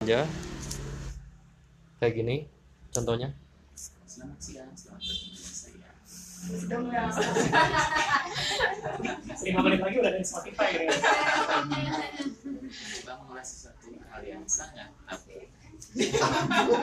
aja kayak gini contohnya Selamat siang, selamat bertemu saya. Sedang berangkat. lima menit lagi udah ada di Spotify ya. Coba mengulas sesuatu hal yang sangat tabu.